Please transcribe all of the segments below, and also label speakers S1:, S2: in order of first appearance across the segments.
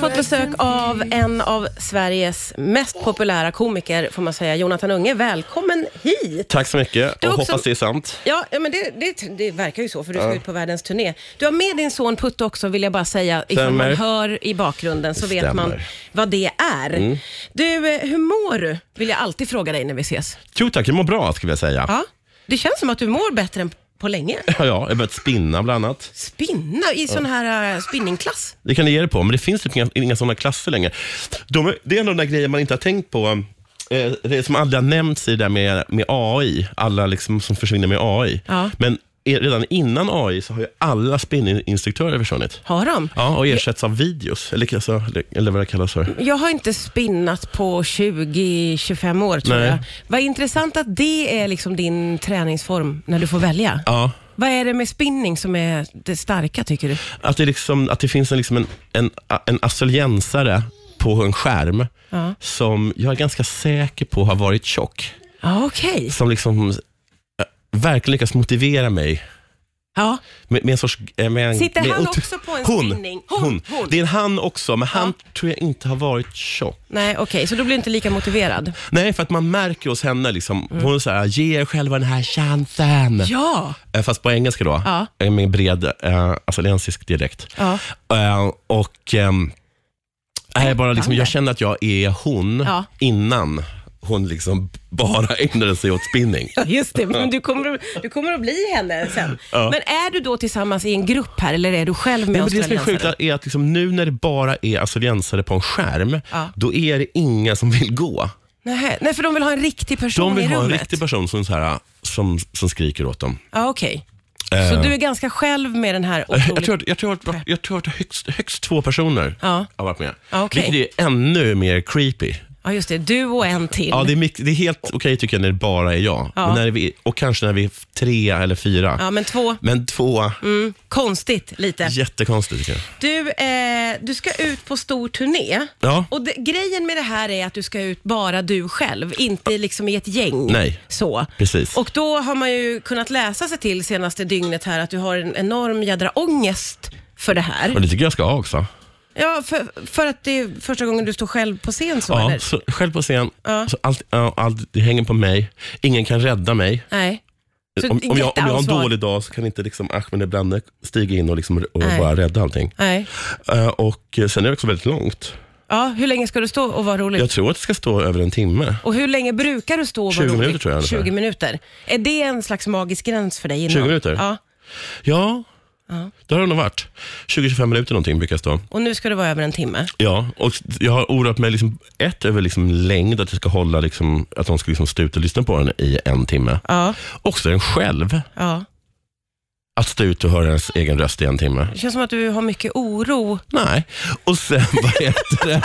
S1: fått besök av en av Sveriges mest populära komiker, får man säga, Jonathan Unge. Välkommen hit!
S2: Tack så mycket
S1: Du
S2: och
S1: också-
S2: hoppas det är sant.
S1: Ja, ja, men det, det, det verkar ju så, för du ska ut på världens turné. Du har med din son Putte också, vill jag bara säga. Ifall man
S2: Stämmer.
S1: hör i bakgrunden så vet man
S2: Stämmer. Mm.
S1: vad det är. Du, eh, hur mår du? Vill jag alltid fråga dig när vi ses.
S2: Jo tack, jag mår bra skulle jag säga. Ja,
S1: Ja? Det känns som att du mår bättre än på länge.
S2: ja jag har börjat spinna bland annat.
S1: Spinna i sån här eh, spinningklass.
S2: Det kan ni ge er på, men det finns typ inga, inga sådana klasser längre. De, är- det är en av de där grejer man inte har tänkt på, eh, det som aldrig har nämnts i det där med, med AI, alla liksom som försvinner med AI.
S1: Ja.
S2: Men eh, redan innan AI så har ju alla spinninginstruktörer försvunnit.
S1: Har de?
S2: Ja, och ersätts av videos, eller, alltså, eller- eller vad det kallas för.
S1: Jag har inte spinnat på 20-25 år tror
S2: Nej.
S1: jag. Vad intressant att det är liksom din träningsform när du får välja.
S2: Ja,
S1: Vad är det med spinning som är det starka tycker du?
S2: Att det, liksom, att det finns en, liksom en, en, en australiensare på en skärm
S1: Ja.
S2: som jag är ganska säker på har varit tjock.
S1: Ja, okej.
S2: Som liksom äh, verkligen lyckas motivera mig.
S1: Ja.
S2: Med, med en sorts, äh, med en,
S1: Sitter
S2: med
S1: han
S2: otro-
S1: också på en
S2: hon,
S1: spinning? Hon,
S2: Hon,
S1: hon.
S2: Det är en han också, men han tror jag inte har varit tjock.
S1: Nej, okej. Så då blir du inte lika motiverad?
S2: Nej, för att man märker hos henne, liksom, hon är så här, ge er själva den här chansen.
S1: Mm. Ja.
S2: Eh, Fast på engelska då,
S1: Ja.
S2: Eh, med bred eh, australiensisk dialekt.
S1: Ja.
S2: Eh, och ehm, nej, bara liksom, Jag känner att jag är hon
S1: Ja.
S2: innan hon liksom bara ägnade sig åt spinning.
S1: Ja, Just det, men du kommer, du kommer att bli henne sen.
S2: Ja.
S1: Men är du då tillsammans i en grupp här eller är du själv med
S2: Nej, men det som är sjukt
S1: australiensare?
S2: är att liksom, nu när det bara är australiensare på en skärm,
S1: Ja.
S2: då är det ingen som vill gå.
S1: Nej, nej, för de vill ha en riktig person
S2: De vill
S1: i
S2: ha en
S1: rummet.
S2: riktig person som, så här, som, som skriker åt dem.
S1: Ja, okej. Så du är ganska själv med den här otroligt...
S2: Eh. Jag tror att, jag tror att, jag tror att högst, högst två personer
S1: Ja.
S2: har varit med.
S1: Ja, okej.
S2: Vilket är ännu mer creepy.
S1: Ja, just det. Du och en till.
S2: Ja, det är, mycket, det är helt okej tycker jag när det bara är jag.
S1: Ja.
S2: Men när vi, och kanske när vi är tre eller fyra.
S1: Ja, men två.
S2: Men två,
S1: Mm, konstigt lite.
S2: jättekonstigt tycker jag.
S1: Du, eh, du ska ut på stor turné.
S2: Ja.
S1: Och det, grejen med det här är att du ska ut bara du själv, inte liksom i ett gäng.
S2: Nej.
S1: Så.
S2: Precis.
S1: Och då har man ju kunnat läsa sig till senaste dygnet här att du har en enorm jädra ångest för det
S2: Och
S1: här.
S2: det tycker jag ska ha också.
S1: Ja, för, för att det är första gången du står själv på scen så,
S2: Ja,
S1: eller?
S2: så själv på scen,
S1: Ja.
S2: så allt, ja, allt det hänger på mig. Ingen kan rädda mig.
S1: Nej. Så
S2: Om, om, jag, om jag har en
S1: jätteansvar.
S2: dålig dag så kan inte liksom Ahmed Brande stiga in och, liksom, och
S1: Nej.
S2: bara rädda allting.
S1: Nej.
S2: Eh, och eh, Sen är det också väldigt långt.
S1: Ja, hur länge ska du stå och vara rolig?
S2: Jag tror att det ska stå över en timme.
S1: Och hur länge brukar du stå och vara
S2: 20
S1: rolig?
S2: minuter tror jag ungefär.
S1: 20 minuter. Är det en slags magisk gräns för dig? Innan?
S2: 20 minuter?
S1: Ja.
S2: Ja, det har det nog varit. 20-25 minuter någonting brukar jag stå.
S1: Och nu ska du vara över en timme.
S2: Ja, och jag har oroat mig liksom, ett över liksom längd, att jag ska hålla liksom, att de ska liksom stå ut och lyssna på den i en timme.
S1: Ja.
S2: Också en själv,
S1: ja.
S2: att stå ut och höra ens egen röst i en timme.
S1: Det känns som att du har mycket oro.
S2: Nej, och sen vad heter det?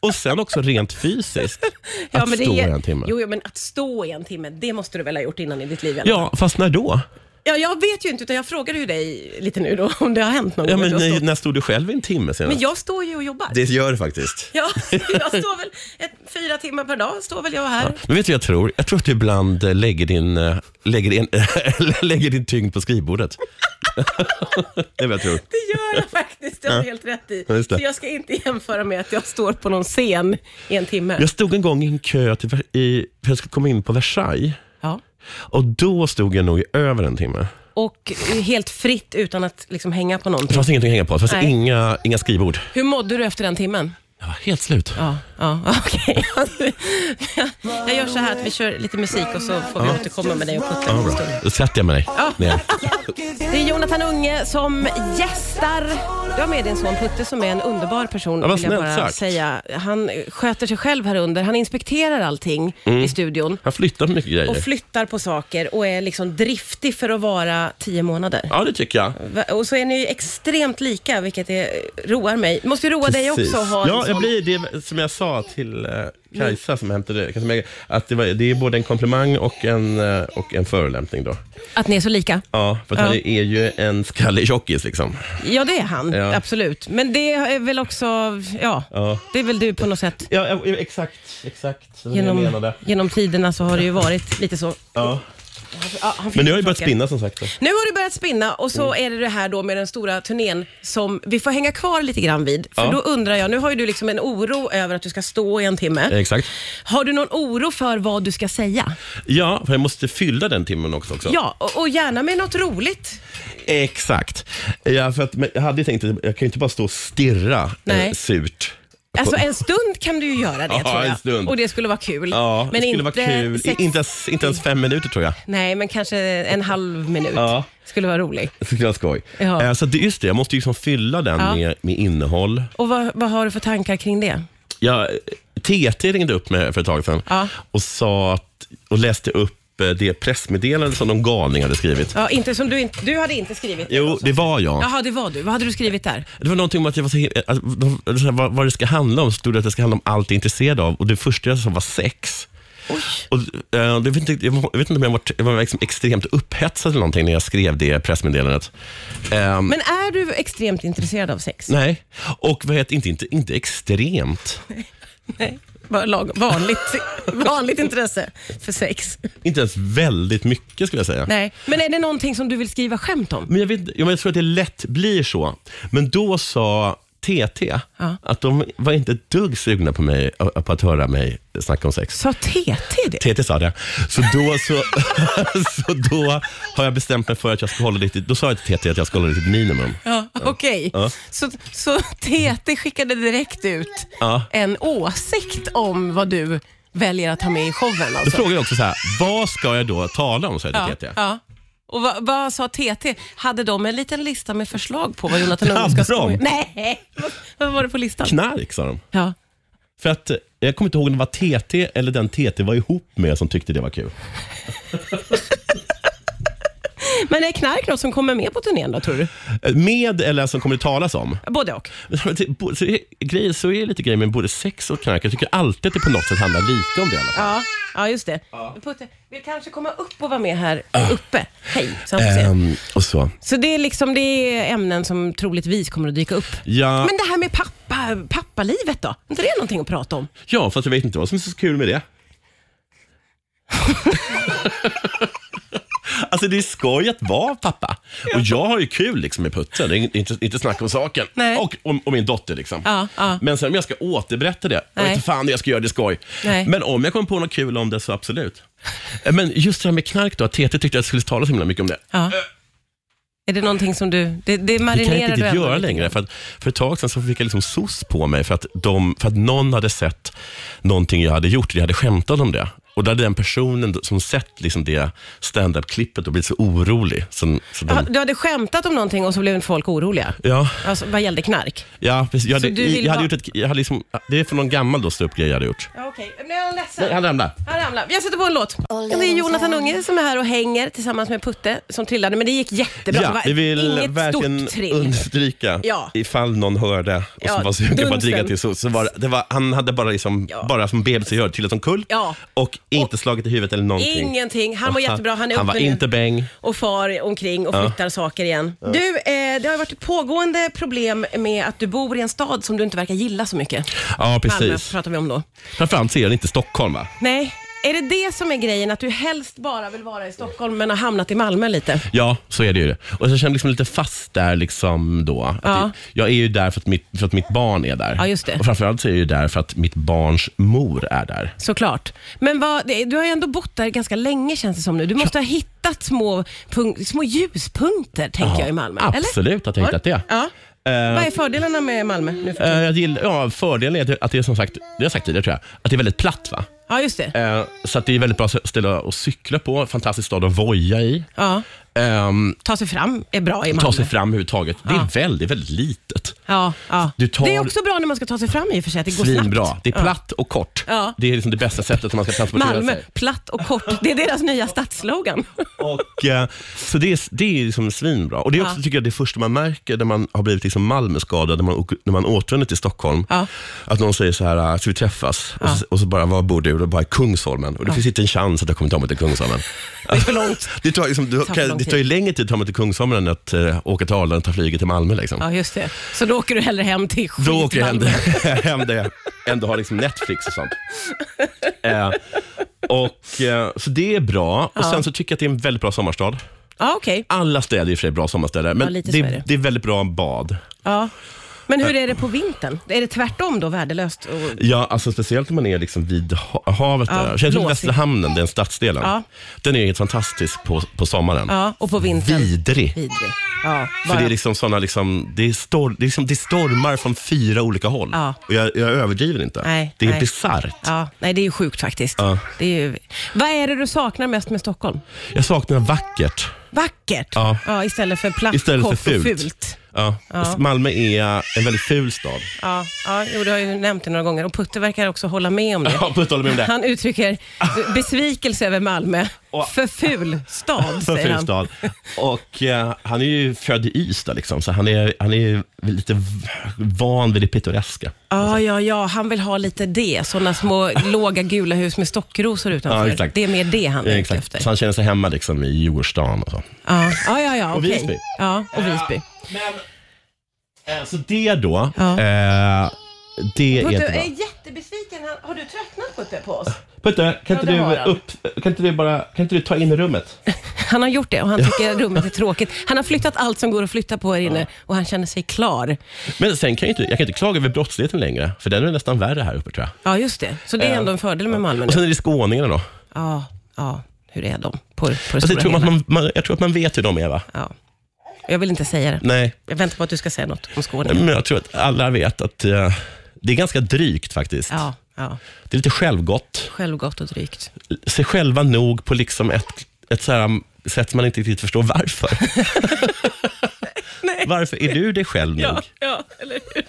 S2: och sen också rent fysiskt,
S1: Ja,
S2: att
S1: men det
S2: stå i
S1: är-
S2: en timme.
S1: Jo, jo, men att stå i en timme, det måste du väl ha gjort innan i ditt liv? eller?
S2: Ja, fast när då?
S1: ja jag vet ju inte, utan jag frågade ju dig lite nu då, om det har hänt någon
S2: Ja,
S1: gång.
S2: men
S1: att du har
S2: när,
S1: stått-
S2: när stod du själv i en timme senast?
S1: men jag står ju och jobbar.
S2: Det gör det faktiskt.
S1: Ja, jag står väl ett, fyra timmar per dag, står väl jag här.
S2: Men vet du vad jag tror? Jag tror att du ibland eh, lägger din, eh, lägger din, lägger din tyngd på skrivbordet. det är vad jag tror.
S1: Det gör jag faktiskt, det har du helt rätt i.
S2: Ja, just det.
S1: Så jag ska inte jämföra med att jag står på någon scen i en timme.
S2: Jag stod en gång i en kö till, i, för jag skulle komma in på Versailles.
S1: Ja.
S2: Och då stod jag nog i över en timme.
S1: Och eh, helt fritt utan att liksom hänga på
S2: Det
S1: någonting.
S2: fanns ingenting att hänga på. Det fanns
S1: Nej.
S2: inga, inga skrivbord.
S1: Hur mådde du efter den timmen?
S2: Jag var helt slut.
S1: Ja, ja okej. jag gör så här att vi kör lite musik och så får vi återkomma med dig och Putte. om en
S2: Ja,
S1: stund.
S2: bra. Då sätter jag med dig. Ner.
S1: Det är Jonathan Unge som gästar. Du har med din son Putte som är en underbar person.
S2: Ja, vad
S1: vill jag
S2: snällt
S1: bara
S2: sagt.
S1: säga. Han sköter sig själv här under. Han inspekterar allting i studion
S2: Jag har flyttat mycket
S1: och
S2: grejer.
S1: flyttar på saker och är liksom driftig för att vara tio månader.
S2: Ja, det tycker jag.
S1: Va- Och så är ni ju extremt lika, vilket är, roar mig. måste ju roa dig också att ha liksom-
S2: Ja,
S1: en
S2: jag
S1: sån-
S2: blir det som jag sa till eh, Kajsa som hämtade Kajsa Mega, att det, var, det är både en komplimang och en, eh, och en förolämpning då.
S1: att ni är så lika.
S2: Ja, för att
S1: Ja.
S2: han är ju en skallig tjockis liksom.
S1: Ja, det är han.
S2: Ja.
S1: Absolut. Men det är väl också, ja,
S2: Ja.
S1: det är väl du på något sätt.
S2: Ja, ja, exakt. Exakt. Det var det jag
S1: Genom,
S2: menade.
S1: genom tiderna så har det ju varit lite så.
S2: Ja.
S1: Ja, han fick
S2: Men nu har jag börjat
S1: tråkiga.
S2: spinna Mm. som sagt. så.
S1: Nu har du börjat spinna och så är det det här då med den stora turnén som vi får hänga kvar lite grann vid. För
S2: Ja.
S1: då undrar jag, nu har ju du liksom en oro över att du ska stå i en timme.
S2: Exakt.
S1: Har du någon oro för vad du ska säga?
S2: Ja, för jag måste fylla den timmen också. också.
S1: Ja, och, och gärna med något roligt.
S2: Exakt. Ja, för att, men jag hade ju tänkt att jag kan ju inte bara stå och stirra eh,
S1: Nej.
S2: surt.
S1: Alltså en stund kan du ju göra det
S2: Ja,
S1: tror jag.
S2: en stund.
S1: Och det skulle vara kul.
S2: Ja,
S1: men
S2: det skulle
S1: inte
S2: vara kul.
S1: Sex...
S2: Inte, ens, inte ens fem minuter tror jag.
S1: Nej, men kanske en halv minut
S2: Ja.
S1: skulle vara rolig.
S2: Det skulle vara skoj.
S1: Ja.
S2: Eh, Så det, just det, jag måste ju liksom fylla den
S1: Ja.
S2: med, med innehåll.
S1: Och vad, vad har du för tankar kring det?
S2: Jag, TT ringde upp mig för ett tag sedan
S1: Ja.
S2: och, sa att, och läste upp eh, det pressmeddelande som någon galning hade skrivit.
S1: Ja, inte som du, inte- du hade inte skrivit det.
S2: Jo, det var jag.
S1: Jaha, det var du. Vad hade du skrivit där?
S2: Det var någonting om att jag var så himla, att, de- så här, vad, vad det ska handla om, så stod det att det ska handla om allt jag är intresserad av och det första jag sa var sex. Och, eh, det vet inte, jag vet inte om jag var, jag var liksom extremt upphetsad eller någonting när jag skrev det pressmeddelandet. Ehm,
S1: Men är du extremt intresserad av sex?
S2: Nej, och vad heter, inte, inte, inte extremt.
S1: Nej, bara lag, vanligt, vanligt intresse för sex.
S2: Inte ens väldigt mycket skulle jag säga.
S1: Nej. Men är det någonting som du vill skriva skämt om?
S2: Men jag, vet, ja, men jag tror att det lätt blir så. Men då sa TT
S1: Ja.
S2: att de var inte ett dugg sugna på, mig, ö- på att höra mig snacka om sex.
S1: Sa TT det?
S2: TT sa det. Så då, så, så då har jag bestämt mig för att jag ska hålla det till, då sa jag till TT att jag ska hålla det till ett minimum.
S1: Ja, okej. Så, så TT skickade direkt ut
S2: Ja.
S1: en åsikt om vad du väljer att ha med i showen
S2: Då
S1: alltså?
S2: frågade jag också så här, vad ska jag då tala om? Sa jag till
S1: Ja,
S2: TT.
S1: ja. Och vad, vad sa TT? Hade de en liten lista med förslag på vad Jonathan Unge ska
S2: Hade
S1: stå i?
S2: de?
S1: Nej, vad, vad var det på listan?
S2: Knark sa de.
S1: Ja.
S2: För att eh, jag kommer inte ihåg om det var TT eller den TT var ihop med som tyckte det var kul.
S1: Men är knark något som kommer med på turnén då, tror du?
S2: Eh, Med eller som kommer det talas om.
S1: Både och.
S2: Men det- bo- Så är, grejer, så är det lite grejer med både sex och knark. Jag tycker alltid att det på något sätt handlar lite om det i alla fall.
S1: Ja, ja just det. Putte vill kanske komma upp och vara med här uppe. Hej, så han får se.
S2: Ah. Ehm, och så.
S1: Så det är liksom det är ämnen som troligtvis kommer att dyka upp.
S2: Ja,
S1: Men det här med pappa, pappalivet då? Är inte det någonting att prata om?
S2: ja, fast jag vet inte vad som är så kul med det. alltså det är skoj att vara pappa. Och jag har ju kul liksom med Putte, det är inte, inte snack om saken.
S1: Nej.
S2: Och, om och min dotter liksom.
S1: Ja, ja.
S2: Men sen om jag ska återberätta det, jag
S1: Nej.
S2: vet inte fan hur jag ska göra det skoj.
S1: Nej.
S2: Men om jag kommer på något kul om det så absolut. Men just det här med knark då, att TT tyckte jag skulle tala så himla mycket om det.
S1: Ja. Är det någonting som du... Det, det
S2: Det kan jag
S1: marinerar
S2: inte
S1: du
S2: riktigt
S1: ändå
S2: göra
S1: lite
S2: längre.
S1: grann.
S2: För, att, för ett tag sedan så fick jag liksom sos på mig för att, de, för att någon hade sett någonting jag hade gjort. Jag hade skämtat om det. Och då hade den personen som sett liksom det stand-up-klippet och blivit så orolig. Så, så
S1: Ja,
S2: de,
S1: Du hade skämtat om någonting och så blev folk oroliga.
S2: ja,
S1: Alltså vad gällde knark?
S2: ja, precis. Jag
S1: Så
S2: hade,
S1: du vill
S2: jag hade
S1: ha-
S2: gjort ett, jag hade liksom, det är från någon gammal då ståuppgrej jag hade gjort.
S1: Ja, Okej, nu är jag ledsen.
S2: Nej, han ramlade.
S1: Han ramlade. Jag sätter på en låt. Det är Jonathan Unge som är här och hänger tillsammans med Putte som trillade, men det gick jättebra. det
S2: Ja,
S1: var
S2: vi vill
S1: inget
S2: verkligen
S1: stort trill.
S2: understryka,
S1: Ja.
S2: ifall någon hörde och
S1: Ja,
S2: som var sugen på att dricka
S1: dunsen.
S2: till soc, så var det- det var, han hade bara, liksom,
S1: Ja.
S2: bara som bebis gör trillat omkull
S1: Ja.
S2: och inte slagit i huvudet eller någonting.
S1: Ingenting. Han
S2: Och
S1: mår jättebra. Han är
S2: Han
S1: uppe
S2: var
S1: nu.
S2: inte bäng.
S1: och far omkring och flyttar saker igen. Du, eh, det har varit ett pågående problem med att du bor i en stad som du inte verkar gilla så mycket.
S2: Ja,
S1: Malmö
S2: precis.
S1: pratar vi om då.
S2: Framförallt ser den inte Stockholm, va?
S1: Nej, är det det som är grejen? Att du helst bara vill vara i Stockholm men har hamnat i Malmö lite?
S2: Ja, så är det ju. det. Och så känner jag liksom lite fast där liksom då. Att
S1: Ja.
S2: det- Jag är ju där för att, mitt, för att mitt barn är där.
S1: Ja, just det.
S2: Och framförallt så är jag ju där för att mitt barns mor är där.
S1: Såklart. Men vad, det- du har ju ändå bott där ganska länge känns det som nu. Du måste ha hittat små, punk- små ljuspunkter tänker jag i Malmö. Eller?
S2: Absolut att jag hittat det.
S1: Ja.
S2: Eh,
S1: Vad är fördelarna med Malmö nu för
S2: eh, jag gillar, ja, fördelen är att det- att det är som sagt, det har jag sagt tidigare tror jag, att det är väldigt platt. va?
S1: Ja, just det.
S2: Eh, Så att det är väldigt bra ställe att cykla på, fantastisk stad att voja i.
S1: Ja.
S2: Ehm,
S1: Ta sig fram är bra i Malmö.
S2: Ta sig fram överhuvudtaget. Det
S1: Ja.
S2: är väldigt, väldigt litet.
S1: Ja, ja.
S2: Du tar-
S1: Det är också bra när man ska ta sig fram i och för sig, att det går
S2: Svinbra.
S1: snabbt.
S2: Det är platt och kort.
S1: Ja.
S2: Det är liksom det bästa sättet som man ska transportera
S1: Malmö,
S2: sig.
S1: platt och kort. Det är deras nya stadsslogan.
S2: Och, eh, så det är, det är liksom svinbra. Och det är också,
S1: Ja.
S2: tycker jag, det första man märker när man har blivit liksom Malmöskadad, när man, åker- när man återvänder till Stockholm.
S1: Ja.
S2: Att någon säger så här, "Ah, ska vi träffas? Och, så, och så bara, var bor du? Och då bara, Kungsholmen. Och det finns inte en chans att jag kommer ta mig till Kungsholmen.
S1: Det är för långt.
S2: Det tar, liksom, du,
S1: för
S2: kan,
S1: lång
S2: det tar ju längre tid att ta mig till Kungsholmen än att eh, åka till Arlanda och ta flyget till Malmö. Liksom.
S1: Ja, just det. Så då åker du hellre hem till skit
S2: Då åker jag hem
S1: Malmö.
S2: det- hem det, ändå har liksom Netflix och sånt. Eh, Och, eh, så det är bra. Och Sen så tycker jag att det är en väldigt bra sommarstad.
S1: Ja, okej.
S2: Alla städer är i och för sig bra sommarstäder, men
S1: Ja, lite
S2: det,
S1: så är
S2: är,
S1: det.
S2: det är väldigt bra bad.
S1: Ja. Men hur är det på vintern? Är det tvärtom då, värdelöst? Och...
S2: Ja, alltså speciellt när man är liksom vid ha- havet.
S1: Ja,
S2: där. Känns som
S1: blåsigt.
S2: Västra hamnen, den stadsdelen.
S1: Ja.
S2: Den är ju helt fantastisk på, på sommaren.
S1: Ja, och på vintern?
S2: Vidrig.
S1: Vidrig. Ja,
S2: För
S1: bara-
S2: det är liksom såna liksom, det är, stor, det är liksom, det är stormar från fyra olika håll.
S1: Ja.
S2: Och jag, jag överdriver inte.
S1: Nej,
S2: det är
S1: nej.
S2: bisarrt.
S1: Ja, nej det är ju sjukt faktiskt.
S2: Ja.
S1: Det är ju... Vad är det du saknar mest med Stockholm?
S2: Jag saknar vackert
S1: Vackert?
S2: Ja.
S1: istället för platt,
S2: istället för
S1: kort
S2: fult.
S1: och fult.
S2: Ja. Malmö är en väldigt ful stad.
S1: Ja, ja jo, du har ju nämnt det några gånger och Putte verkar också hålla med om det.
S2: Ja, Putte håller med om det.
S1: Han uttrycker besvikelse över Malmö.
S2: Och-
S1: För ful stad,
S2: För
S1: säger
S2: ful
S1: han.
S2: stad. Och eh, han är ju född i Ystad, liksom, så han är, han är ju lite v- van vid det pittoreska.
S1: Ja, ja, ja, han vill ha lite det. Sådana små låga gula hus med stockrosor utanför.
S2: Ja, exakt.
S1: Det är mer det han är ute
S2: Exakt.
S1: efter.
S2: Så han känner sig hemma liksom, i Djurgårdsstan och så.
S1: Ja, ja, ja, ja
S2: Och
S1: okej.
S2: Visby.
S1: Ja, och Visby.
S2: Men, eh, så det då,
S1: Ja.
S2: eh, det är
S1: Putte
S2: inte
S1: jag är
S2: bra.
S1: jättebesviken. Han- Har du tröttnat Putte på oss?
S2: Putte, kan inte,
S1: Ja, det har
S2: du
S1: han.
S2: upp, kan inte du bara kan inte du ta in i rummet?
S1: Han har gjort det och han tycker rummet är tråkigt. Han har flyttat allt som går att flytta på här inne och han känner sig klar.
S2: Men sen kan jag, inte, jag kan inte klaga över brottsligheten längre, för den är nästan värre här uppe tror jag.
S1: Ja, just det. Så det är ändå en fördel med Malmö
S2: Och
S1: nu.
S2: sen är det skåningarna då.
S1: Ja, ja. Hur är de på, på det
S2: Alltså,
S1: stora
S2: jag, tror
S1: hela?
S2: att man, man, jag tror att man vet hur de är va?
S1: Ja. Jag vill inte säga det.
S2: Nej,
S1: Jag väntar på att du ska säga något om Skåne.
S2: men jag tror att alla vet att eh, det är ganska drygt faktiskt.
S1: Ja, ja.
S2: Det är lite självgott.
S1: Självgott och drygt.
S2: Sig själva nog på liksom ett, ett så här, um, sätt som man inte riktigt förstår varför. Varför är du dig själv nog?
S1: ja, eller hur?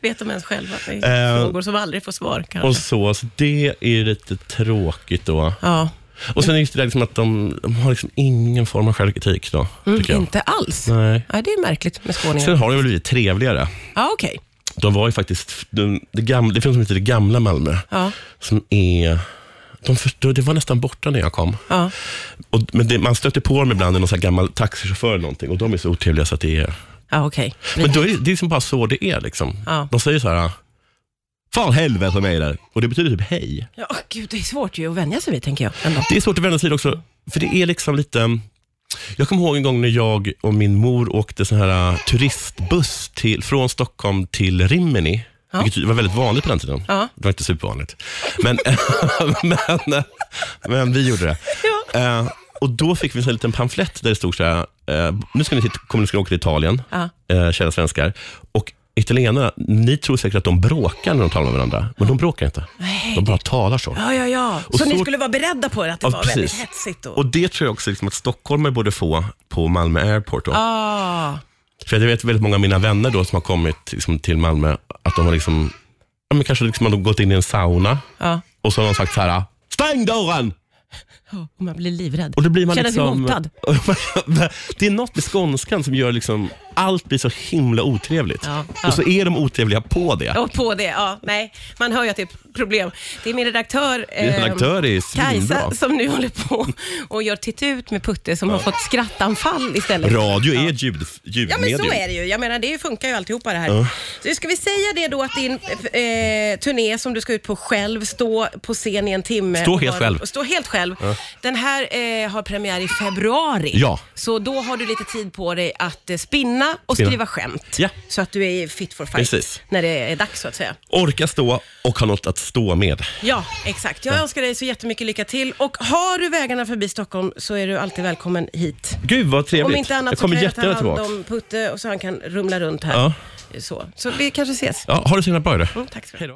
S1: Vet de ens själva? Det
S2: är Eh,
S1: frågor som aldrig får svar
S2: Och
S1: kanske.
S2: så, så det är ju lite tråkigt då.
S1: Ja,
S2: Och sen är det just det där liksom att de, de har liksom ingen form av självkritik då, tycker jag.
S1: Mm, inte alls.
S2: Nej.
S1: Ja, det är märkligt med skåningar.
S2: Sen har det väl blivit trevligare.
S1: Ja, okej.
S2: De var ju faktiskt, de, det, gamla, det finns som heter det gamla Malmö,
S1: Ja,
S2: som är, de förstod, det var nästan borta när jag kom.
S1: ja.
S2: Och, men det, man stöter på dem ibland, någon sån här gammal taxichaufför eller någonting, och de är så otrevliga så att det är...
S1: ja okej.
S2: Men då är, det- det är liksom bara så det är. Liksom.
S1: Ja.
S2: De säger så här, fan helvete med er, och det betyder typ hej.
S1: Ja, gud, det är svårt ju att vänja sig vid, tänker jag. Ändå.
S2: Det är svårt att vända sig till också, för det är liksom lite... Jag kommer ihåg en gång när jag och min mor åkte sån här äh, turistbuss till, från Stockholm till Rimini, vilket var väldigt vanligt på den tiden.
S1: Ja.
S2: Det var inte supervanligt. Men, men, äh, men vi gjorde det. Eh, och Då fick vi en sån här liten pamflett där det stod så här, eh, nu ska ni, till, kommer ni ska åka till Italien,
S1: Ja.
S2: eh, kära svenskar. Och italienarna, ni tror säkert att de bråkar när de talar med varandra, men de bråkar inte.
S1: Nej.
S2: De bara talar så.
S1: Ja, ja, ja. Så,
S2: Och
S1: ni
S2: så-
S1: skulle vara beredda på det, att det
S2: Ja,
S1: var
S2: precis.
S1: väldigt hetsigt då?
S2: Och det tror jag också liksom att stockholmare borde få på Malmö Airport. Då.
S1: Ah,
S2: För jag vet väldigt många av mina vänner då som har kommit liksom till Malmö, att de har liksom, ja, men kanske liksom har de gått in i en sauna
S1: ja.
S2: och så har de sagt så här, stäng dörren!
S1: Oh, man blir livrädd.
S2: Och då blir man
S1: Känner sig
S2: liksom...
S1: hotad.
S2: det är något med skånskan som gör liksom, allt blir så himla otrevligt.
S1: Ja,
S2: Och så är de otrevliga på det.
S1: Och på det, ja. Nej, man hör ju att det är ett problem. Det är min redaktör,
S2: Din
S1: ehm,
S2: redaktör är
S1: Kajsa,
S2: svinbra.
S1: som nu håller på och gör tittut med Putte som har fått skrattanfall istället.
S2: Radio är ett ljud,
S1: Ja men
S2: ljudmedium.
S1: så är det ju. Jag menar det funkar ju alltihopa det här.
S2: Ja.
S1: Så ska vi säga det då att din eh, turné som du ska ut på själv, stå på scen i en timme.
S2: Stå helt
S1: och-
S2: själv.
S1: och Stå helt själv. Den här eh, har premiär i februari.
S2: Ja.
S1: Så då har du lite tid på dig att eh, spinna och
S2: Spinna.
S1: skriva skämt.
S2: Ja.
S1: Så att du är fit for fight
S2: Precis.
S1: när det är dags så att säga.
S2: Orka stå och ha något att stå med.
S1: Ja, exakt. Jag önskar dig så jättemycket lycka till och har du vägarna förbi Stockholm så är du alltid välkommen hit.
S2: Gud vad trevligt.
S1: Om inte annat
S2: jag
S1: så
S2: kommer
S1: kan jag
S2: jättegärna
S1: ta hand
S2: tillbaka.
S1: om Putte och så han kan rumla runt här.
S2: Ja.
S1: Så. så vi kanske ses.
S2: Ja, ha det så himla bra. Hörru.
S1: Mm, tack ska du ha.
S2: Hej då.